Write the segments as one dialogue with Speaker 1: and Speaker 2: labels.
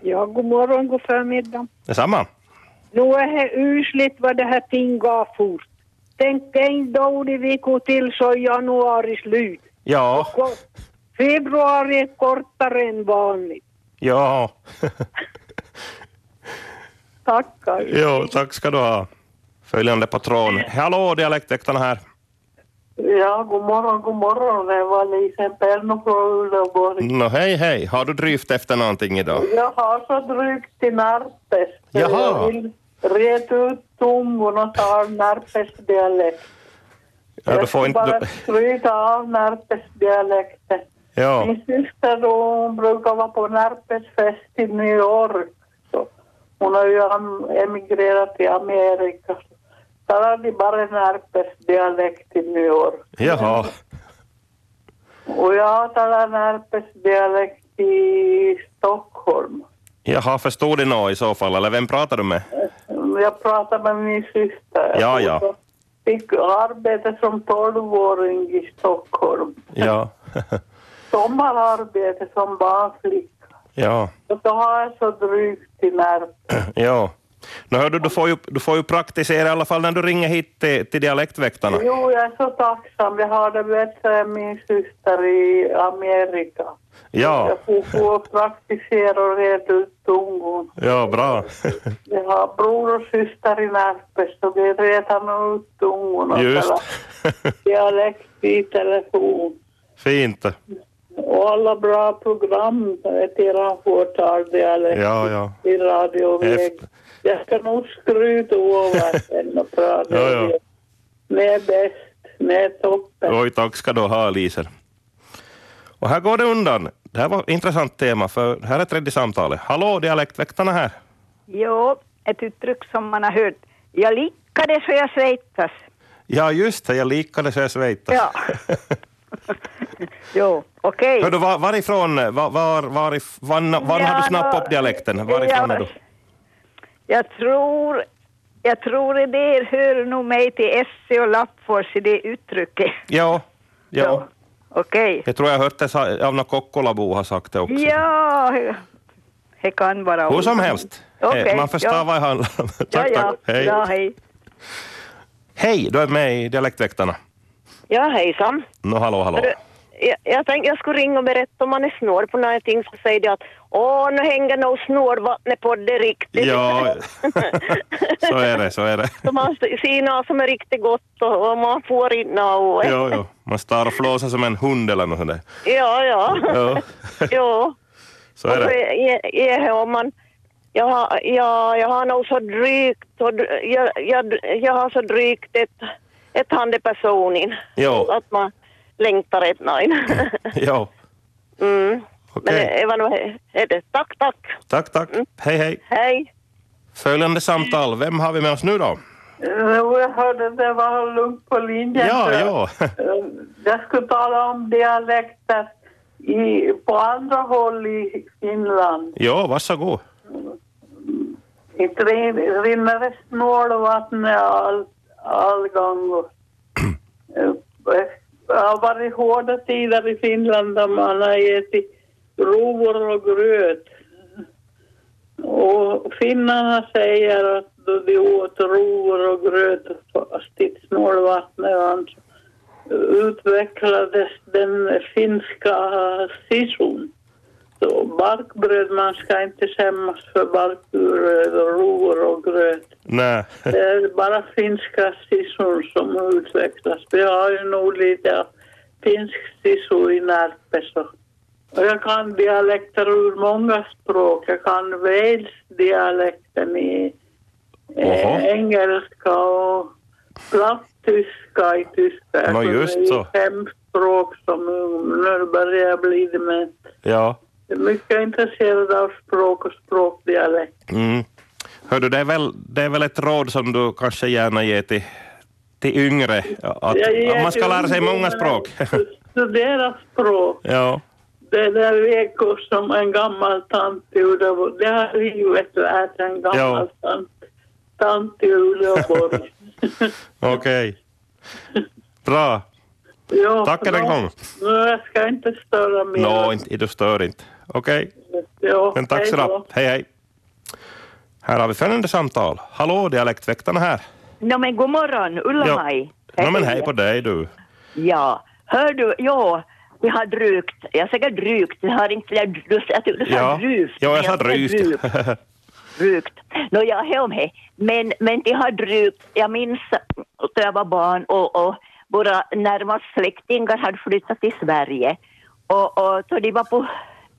Speaker 1: Ja, god morgon, god förmiddag.
Speaker 2: Detsamma.
Speaker 1: Nu är det usligt vad det här ting gav fort. Tänk en dålig vecka till så är januari slut.
Speaker 2: Ja,
Speaker 1: Kort. Februari är kortare än vanligt.
Speaker 2: ja,
Speaker 1: Tackar.
Speaker 2: jo, tack ska du ha. Följande patron. Hallå, dialektäktarna här.
Speaker 3: Ja, god morgon, god morgon. Det var Lisen Perno från Uleåborg.
Speaker 2: Nå, hej, hej. Har du dryft efter någonting idag?
Speaker 3: Jag har så drygt till Narpes. så
Speaker 2: Jaha.
Speaker 3: Jag vill reta ut tungan och ta Narpes dialekt.
Speaker 2: Ja, du
Speaker 3: jag
Speaker 2: får
Speaker 3: ska
Speaker 2: inte...
Speaker 3: bara
Speaker 2: Du...
Speaker 3: skryta av Narpes dialekten.
Speaker 2: Ja,
Speaker 3: Min syster hon brukar vara på Narpes fest i New York. Så hon har ju am- emigrerat till Amerika. Där har de bara Narpes dialekt i New York.
Speaker 2: jaha.
Speaker 3: Och jag talar närpesdialekt i Stockholm.
Speaker 2: Jaha, förstod du nå i så fall, eller vem pratar du med?
Speaker 3: Jag pratade med min syster.
Speaker 2: Ja, ja.
Speaker 3: Hon fick arbete som tolvåring i Stockholm.
Speaker 2: Ja,
Speaker 3: Sommararbete som barnflicka.
Speaker 2: ja,
Speaker 3: Och då har jag så drygt till Närpes.
Speaker 2: ja. Nå, hör du, du får ju, du får ju praktisera i alla fall när du ringer hit till, till dialektväktarna.
Speaker 3: Jo, jag är så tacksam. Jag har det bättre än min syster i Amerika.
Speaker 2: Ja,
Speaker 3: Jag får gå och praktisera och reda ut tungan.
Speaker 2: ja, bra.
Speaker 3: Jag har bror och syster i Närpes och vi retar ut tungorna
Speaker 2: Just.
Speaker 3: dialekt i telefon.
Speaker 2: Fint.
Speaker 3: Och alla bra program ett eran fåtal dialekt
Speaker 2: Ja, ja.
Speaker 3: i radio och väg.
Speaker 2: Efter-
Speaker 3: Jag ska nog skryta över den och prata
Speaker 2: Ja, ja.
Speaker 3: Ni är bäst, ni är toppen.
Speaker 2: Oj, tack ska du ha, Liser. Och här går det undan. Det här var ett intressant tema, för här är tredje samtalet. Hallå, dialektväktarna här.
Speaker 4: Jo, ett uttryck som man har hört. Jag lickade så jag svettas.
Speaker 2: Ja, just det, jag likade så jag svettades.
Speaker 4: Ja. jo, okej.
Speaker 2: Hör du, var, varifrån, var, var, varif, var, var har
Speaker 4: Ja,
Speaker 2: du
Speaker 4: nå,
Speaker 2: snappat upp dialekten? Varifrån
Speaker 4: ja,
Speaker 2: är du?
Speaker 4: Jag tror, jag tror att det hör nog mig till Esse och Lappfors i det uttrycket.
Speaker 2: Ja, ja.
Speaker 4: Okej.
Speaker 2: Jag tror jag har hört det sa- av någon Kokkolabo har sagt det också.
Speaker 4: Ja, det kan vara
Speaker 2: Hur som
Speaker 4: olika.
Speaker 2: helst,
Speaker 4: Okej,
Speaker 2: Eh, man förstår
Speaker 4: ja.
Speaker 2: vad det handlar om.
Speaker 4: Ja,
Speaker 2: tack,
Speaker 4: ja.
Speaker 2: tack. Hej.
Speaker 4: Ja, hej.
Speaker 2: Hej, du är med i Dialektväktarna.
Speaker 5: Ja, hejsan.
Speaker 2: Nå, hallå, hallå.
Speaker 5: Hörru, Jag, jag tänkte jag skulle ringa och berätta om man är snål på någonting så säger de att åh, nu hänger nog snålvattnet på det riktigt.
Speaker 2: Ja, så är det, så är det.
Speaker 5: så man ser något som är riktigt gott och, och man får in något.
Speaker 2: Jo, jo. Man står och flåsar som en hund eller något sånt där.
Speaker 5: Ja, ja.
Speaker 2: Jo,
Speaker 5: jo.
Speaker 2: så är
Speaker 5: Och
Speaker 2: det.
Speaker 5: är- är det om man, jag, har, jag, jag har nog så drygt, så, dr- jag, jag, jag har så drygt ett, ett handepersonin.
Speaker 2: Jo.
Speaker 5: Att man längtar ett nine.
Speaker 2: Jo,
Speaker 5: mm. Men
Speaker 2: okej.
Speaker 5: det var nog he- he- det. Tack, tack.
Speaker 2: Tack, tack.
Speaker 3: Mm.
Speaker 2: Hej, hej.
Speaker 5: Hej.
Speaker 2: Följande samtal. Vem har vi med oss nu då?
Speaker 3: Jo, Jag hörde det var lugnt på linjen.
Speaker 2: Ja,
Speaker 3: så-
Speaker 2: ja.
Speaker 3: Eh, Jag skulle tala om dialekter i, på andra håll i Finland.
Speaker 2: Ja, varsågod.
Speaker 3: Inte rin- rinner det snålvatten all, all gång. Och, Eh, det har varit hårda tider i Finland där man har ätit rovor och gröt. Och finnarna säger att då de åt rovor och gröt fast i snålvattnet och annat, alltså- utvecklades den finska sisun. Så barkbröd, man ska inte skämmas för barkbröd och rovor och gröt.
Speaker 2: Nej.
Speaker 3: Det är bara finska sisor som utvecklas. Vi har ju nog lite finsk sisu i Närpes. Och jag kan dialekter ur många språk. Jag kan Wales-dialekten i
Speaker 2: Oho.
Speaker 3: eh, engelska och plattyska i tyska. Jag
Speaker 2: Nå,
Speaker 3: kunde
Speaker 2: just
Speaker 3: ju
Speaker 2: så.
Speaker 3: Fem språk som ung. Nu börjar jag bli dement.
Speaker 2: Ja.
Speaker 3: Jag är mycket intresserad av språk och språkdialekt.
Speaker 2: Mm. Hör du, det är, väl, det är väl ett råd som du kanske gärna ger till, till yngre, att
Speaker 3: Jag ger
Speaker 2: att man ska
Speaker 3: till
Speaker 2: lära sig många
Speaker 3: ungdomarna
Speaker 2: språk.
Speaker 3: att Studera språk.
Speaker 2: Ja,
Speaker 3: Det där vekor som en gammal tant i Uleåborg. Det har livet värt en gammal tant. Tant i Uleåborg.
Speaker 2: okej. Bra.
Speaker 3: Jo,
Speaker 2: Tack än en
Speaker 3: nå-
Speaker 2: gång.
Speaker 3: nå, Jag ska inte störa mer.
Speaker 2: Nå, inte, du stör inte. Okej.
Speaker 3: Jo,
Speaker 2: Men tack så
Speaker 3: hej
Speaker 2: du
Speaker 3: då.
Speaker 2: Hej, hej. Här har vi följande samtal. Hallå, dialektväktarna här.
Speaker 6: No, men god morgon, Ulla-Maj.
Speaker 2: Nå, men hej på dig du.
Speaker 6: Ja, hör du, ja, vi har drygt, jag säger drygt, jag har inte lärt, du, jag tycker du sa
Speaker 2: Ja,
Speaker 6: drygt.
Speaker 2: ja
Speaker 6: men
Speaker 2: jag sa drygt.
Speaker 6: drygt. Nå, jag är med. Men, men de har drygt, jag minns då jag var barn och, och våra närmaste släktingar hade flyttat till Sverige. Och, och då de var på,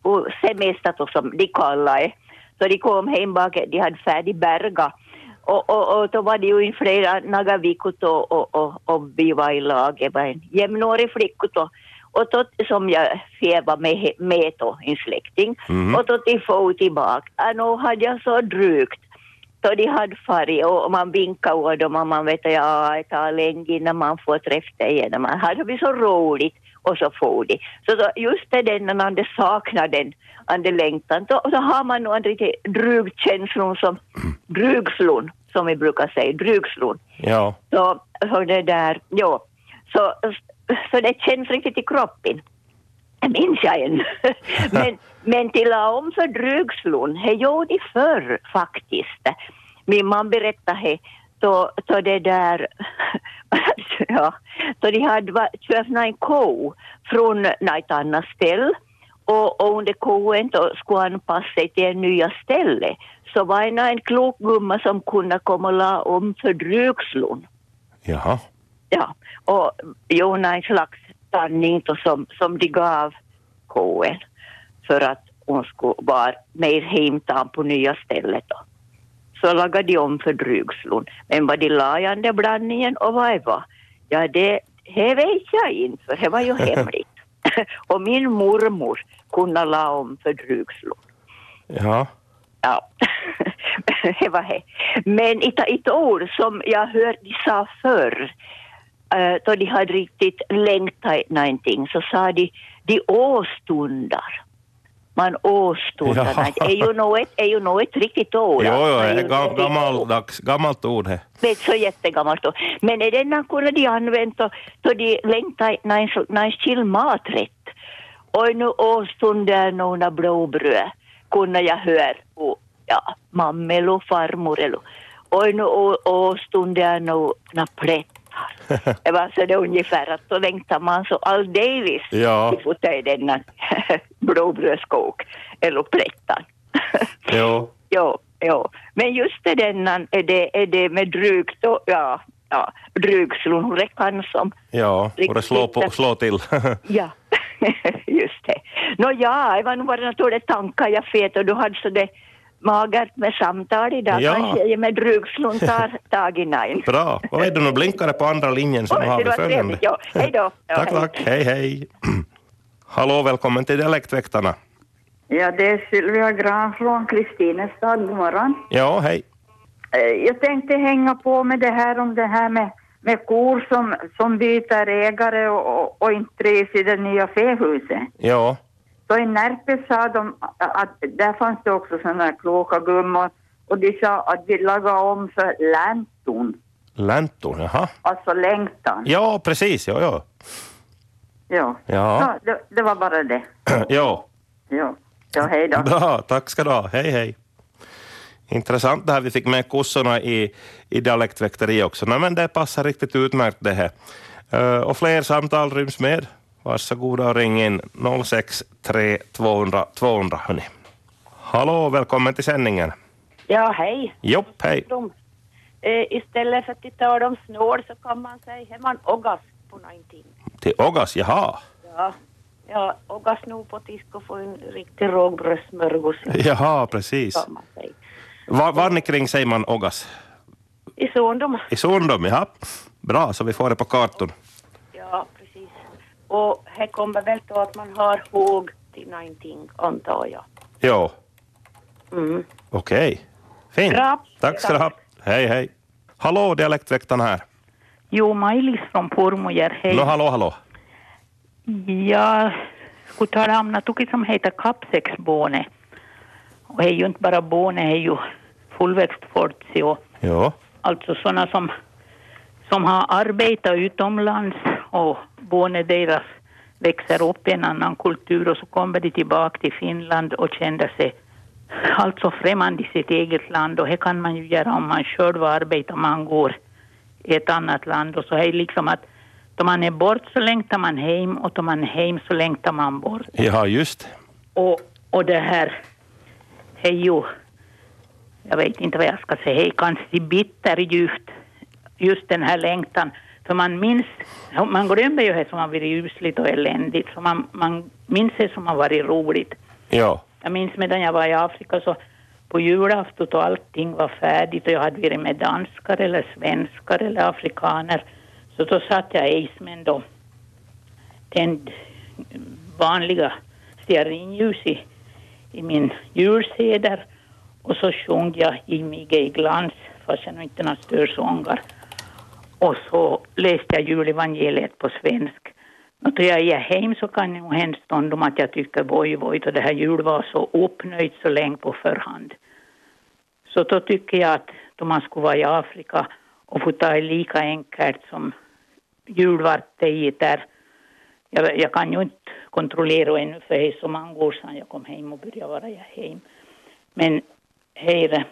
Speaker 6: på semester, då, som de kallar det, så de kom hem bak, de hade färdig berga. Och, och, och då var det ju i flera några veckor då, och, och, och vi var i lag, jag var en jämnårig flicka då. Och då som jag fjävade med, med då, en släkting.
Speaker 2: Mm.
Speaker 6: Och då de for tillbaka. Ja, nu hade jag så drygt. Då de hade farit och och man vinkade åt dem och man vet att ja, det tar länge innan man får träffa dig igen. Och Man hade vi så roligt och så får de. Så då, just det den när man det saknar den, man det längtan, då, då har man nog en riktig drugkänslon som, drugslon som vi brukar säga, drugslon.
Speaker 2: Ja,
Speaker 6: Så, så det där, ja. Så, så det känns riktigt i kroppen. Det minns jag än. men, men till om för drugslon, det gjorde de förr faktiskt. Min man berättade det, då, då det där, ja, då de hade va- köpt en ko från något annat ställe och, och under koen då skulle anpassa sig till en nya ställe. Så var det en klok gumma som kunde komma och la om för drugslon.
Speaker 2: jaha.
Speaker 6: Ja, och gjorde en slags tanning då som, som de gav koen för att hon skulle vara mer hemtam på nya stället. Då. Så lagade de om för drugslon. Men vad de la i den där blandningen och vad det var, ja det, det vet jag inte för det var ju hemligt. och min mormor kunde la om för drugslon.
Speaker 2: Ja,
Speaker 6: Ja, det var det. Men ett, ett ord som jag hörde de sa förr, eh, då de hade riktigt längtat efter någonting, så sa de de åstundar. Man åstundar.
Speaker 2: Ja.
Speaker 6: någonting. Är ju något, är ju något riktigt ord.
Speaker 2: jo, jo, det är
Speaker 6: Är ju
Speaker 2: gam-
Speaker 6: något-
Speaker 2: gammaldags, gammalt ord det.
Speaker 6: det är så jättegammalt då. Men är denna kunde de använt då, då de längtade när en så- när en chill maträtt. Och nu åstund där några blåbröd kunde jag höra på ja, mamma eller farmor eller och nu å- åstund där några plättar. Det var så det ungefär att då längtar man så alldeles
Speaker 2: Ja.
Speaker 6: till fot i denna blåbrödskåk eller plättar.
Speaker 2: Jo.
Speaker 6: Ja, ja. Men just det denna, är det, är det med drygt och ja, ja, drygslon, hon räknar som,
Speaker 2: Ja, och det slår, på, slår till.
Speaker 6: ja, just det. Nå ja, det var nog bara några tankar jag fet och du hade så det magert med samtal idag.
Speaker 2: Ja.
Speaker 6: Kanske jag med drygslon tar tag i nine.
Speaker 2: Bra. Vad vet du, nu blinkar det på andra linjen så nu
Speaker 6: Oj,
Speaker 2: har
Speaker 6: det
Speaker 2: vi
Speaker 6: var
Speaker 2: följande.
Speaker 6: trevligt. Ja, hej då. Ja,
Speaker 2: Tack,
Speaker 6: hej.
Speaker 2: tack. Hej, hej. Hallå, välkommen till Dialektväktarna.
Speaker 7: Ja, det är Sylvia Gran från Kristinestad. God morgon.
Speaker 2: Ja, hej.
Speaker 7: Eh, Jag tänkte hänga på med det här om det här med, med kor som, som byter ägare och, och, och inte trivs i det nya fähuset.
Speaker 2: Ja,
Speaker 7: Så i Närpes sa de att där fanns det också sådana här kloka gummor och de sa att vi lagar om för länton,
Speaker 2: läntor, jaha.
Speaker 7: alltså längtan.
Speaker 2: Ja, precis, ja, ja.
Speaker 7: Ja,
Speaker 2: Ja,
Speaker 7: ja det, det var bara det.
Speaker 2: ja.
Speaker 7: Ja, ja hej då.
Speaker 2: Bra, tack ska du ha. Hej, hej. Intressant det här. Vi fick med kossorna i, i dialektväkteri också. Nej, men det passar riktigt utmärkt det här. Eh, och fler samtal ryms med. Varsågoda och ring in 063 200 200. Hörni. Hallå, välkommen till sändningen.
Speaker 5: Ja, hej.
Speaker 2: Jopp, hej.
Speaker 5: De, eh, istället för att de tar dem snål så kan man säga hemma man ågas på någonting.
Speaker 2: Till Ogas, jaha.
Speaker 5: Ja, ja ågas nog på disk och få en riktig rågbrödssmörgås.
Speaker 2: Jaha, precis.
Speaker 5: kan man säga.
Speaker 2: Var, var ni kring säger man Ogas?
Speaker 5: I Sondom.
Speaker 2: I Sundom, jaha. Bra, så vi får det på kartan.
Speaker 5: Ja, precis. Och här kommer väl då att man har håg till någonting, antar jag.
Speaker 2: Ja.
Speaker 5: Mm.
Speaker 2: Okej. Fint.
Speaker 5: Bra.
Speaker 2: Tack ska du ha. Hej, hej. Hallå, dialektväktaren här.
Speaker 7: Jo, Maj-Lis från Pormojärv. Hej.
Speaker 2: Nå, hallå, hallå.
Speaker 7: Jag skulle tala om något som heter kappsäcksbåne. Och det är ju inte bara båne, det är ju fullväxt fortsi och
Speaker 2: Jo.
Speaker 7: alltså sådana som, som har arbetat utomlands och båne deras växer upp i en annan kultur och så kommer de tillbaka till Finland och känner sig alltså främmande i sitt eget land och det kan man ju göra om man själv arbetar, man går i ett annat land och så är det liksom att då man är bort så längtar man hem och då man är hem så längtar man bort.
Speaker 2: Ja, just
Speaker 7: Och, och det här är ju, jag vet inte vad jag ska säga, det är kanske bitter djupt, just den här längtan. För man minns, man glömmer ju det som har varit usligt och eländigt, så man, man minns det som har varit roligt.
Speaker 2: Ja.
Speaker 7: Jag minns medan jag var i Afrika så på julafton och allting var färdigt och jag hade varit med danskar eller svenskar eller afrikaner. Så då satt jag i men då tänd vanliga stearinljus i, i min julseder och så sjöng jag i mig i glans fast jag nog inte några störsångar. Och så läste jag julevangeliet på svenska. Och då jag är hem så kan det nog hända stund om att jag tycker voj voj, då det här jul var så uppnöjt så länge på förhand. Så då tycker jag att då man skulle vara i Afrika och få ta det lika enkelt som jul var det i där. Jag, jag kan ju inte kontrollera ännu för det är så många år sedan jag kom hem och började vara jag hem. Men här är det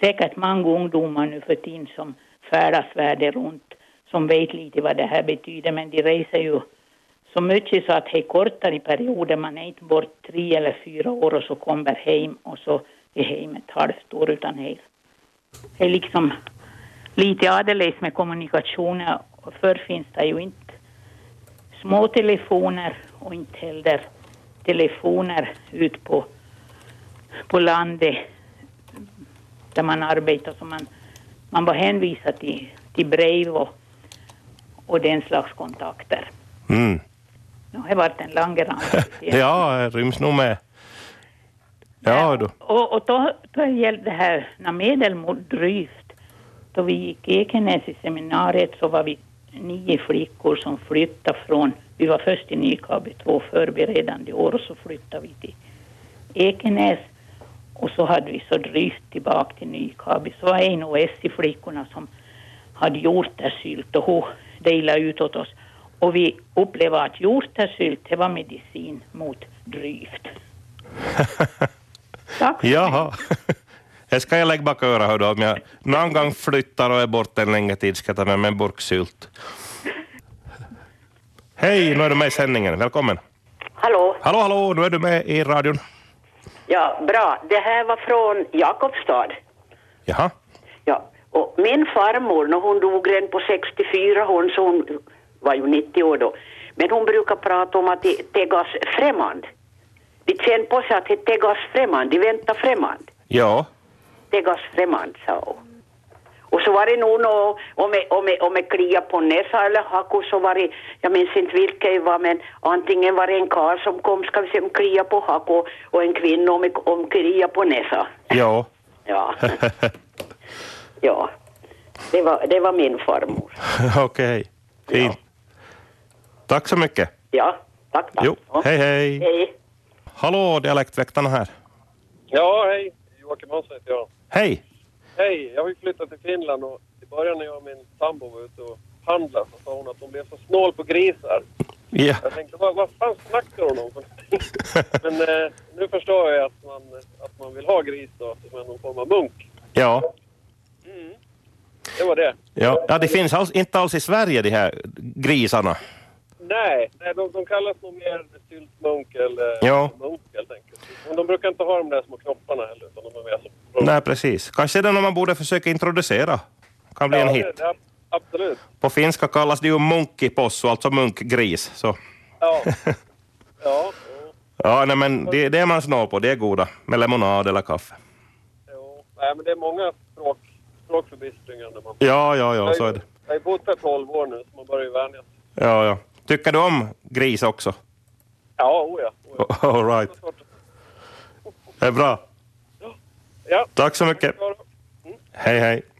Speaker 7: säkert många ungdomar nu för tiden som färdas världen runt som vet lite vad det här betyder men de reser ju så mycket så att det är kortare perioder. Man är inte bort tre eller fyra år och så kommer hem och så är hem ett halvt år utan hem. Det är liksom lite adeles med kommunikationer. Förr finns det ju inte små telefoner och inte heller telefoner ut på, på landet där man arbetar. Så man, man var hänvisad till, till brev och, och den slags kontakter.
Speaker 2: Mm.
Speaker 7: Nu har det varit en lång rand.
Speaker 2: Ja, det ryms nog med. Ja, då.
Speaker 7: Och, och då, då gällde det här när medelmod drygt. Då vi gick Ekenäs i seminariet så var vi nio flickor som flyttade från, vi var först i Nykabi två förberedande år och så flyttade vi till Ekenäs och så hade vi så drygt tillbaka till Nykabi. Så var en av SI-flickorna som hade hjortärsylt och hon delade ut åt oss. Och vi upplevde att hjortärsylt, det var medicin mot drygt.
Speaker 2: Jaha. Det ska jag lägga bak örat hör du, om jag någon gång flyttar och är borta en längre tid ska jag ta med mig en burk sylt. Hej, nu är du med i sändningen. Välkommen.
Speaker 8: Hallå?
Speaker 2: Hallå, hallå, nu är du med i radion.
Speaker 8: Ja, bra. Det här var från Jakobstad.
Speaker 2: Jaha.
Speaker 8: Ja, och min farmor, när hon dog redan på 64, hon, så hon var ju 90 år då, men hon brukar prata om att det tegas främmande. De känner på sig att det tegas främmande, de väntar främmande.
Speaker 2: Ja.
Speaker 8: Tegas främmande, sa hon. Och så var det nog nå, om jag- om jag- om jag kliar på näsa eller hacko så var det, jag minns inte vilka det var, men antingen var det en karl som kom, ska vi se, om kliar på hacko och en kvinna om, jag- om kliar på näsa.
Speaker 2: Ja.
Speaker 8: Ja. Ja, det var, det var min farmor.
Speaker 2: Okej. Fint. Tack så mycket.
Speaker 8: Ja, tack, tack.
Speaker 2: Jo, hej, hej.
Speaker 8: Hej.
Speaker 2: Hallå, dialektväktarna här.
Speaker 9: Ja, hej. Joakim Hansson heter jag.
Speaker 2: Hej.
Speaker 9: Hej, jag har ju flyttat till Finland och i början när jag och min sambo var ute och handlade så sa hon att hon blev så snål på grisar.
Speaker 2: Ja.
Speaker 9: Jag tänkte, vad, vad fan snackar hon om? för någonting?" Men eh, nu förstår jag att man, att man vill ha gris då, som är någon form av munk.
Speaker 2: Ja.
Speaker 9: Det var det.
Speaker 2: Ja, ja det finns alls, inte alls i Sverige, de här grisarna.
Speaker 9: Nej, nej de, de kallas nog mer syltmunk eller
Speaker 2: Ja.
Speaker 9: munk helt enkelt. Men de brukar inte ha de där små knopparna heller, utan de är mer som...
Speaker 2: Nej, precis. Kanske det är något man borde försöka introducera. Kan bli en
Speaker 9: Ja,
Speaker 2: hit.
Speaker 9: det- det- Absolut.
Speaker 2: På finska kallas det ju munkkipossu, alltså munkgris. Så.
Speaker 9: Ja. Ja.
Speaker 2: Ja, nej, men det, det är man snål på, det är goda. Med lemonad eller kaffe.
Speaker 9: Jo, nej, men det är många språk, språkförbistringar när man...
Speaker 2: Ja, ja, ja, så är det.
Speaker 9: Jag har ju bott här 12 år nu, så man börjar ju vänja sig.
Speaker 2: Ja, ja. Tycker du om gris också?
Speaker 9: Ja, o ja. O ja.
Speaker 2: All right. Det är bra.
Speaker 9: Ja.
Speaker 2: Tack så mycket. Hej, hej.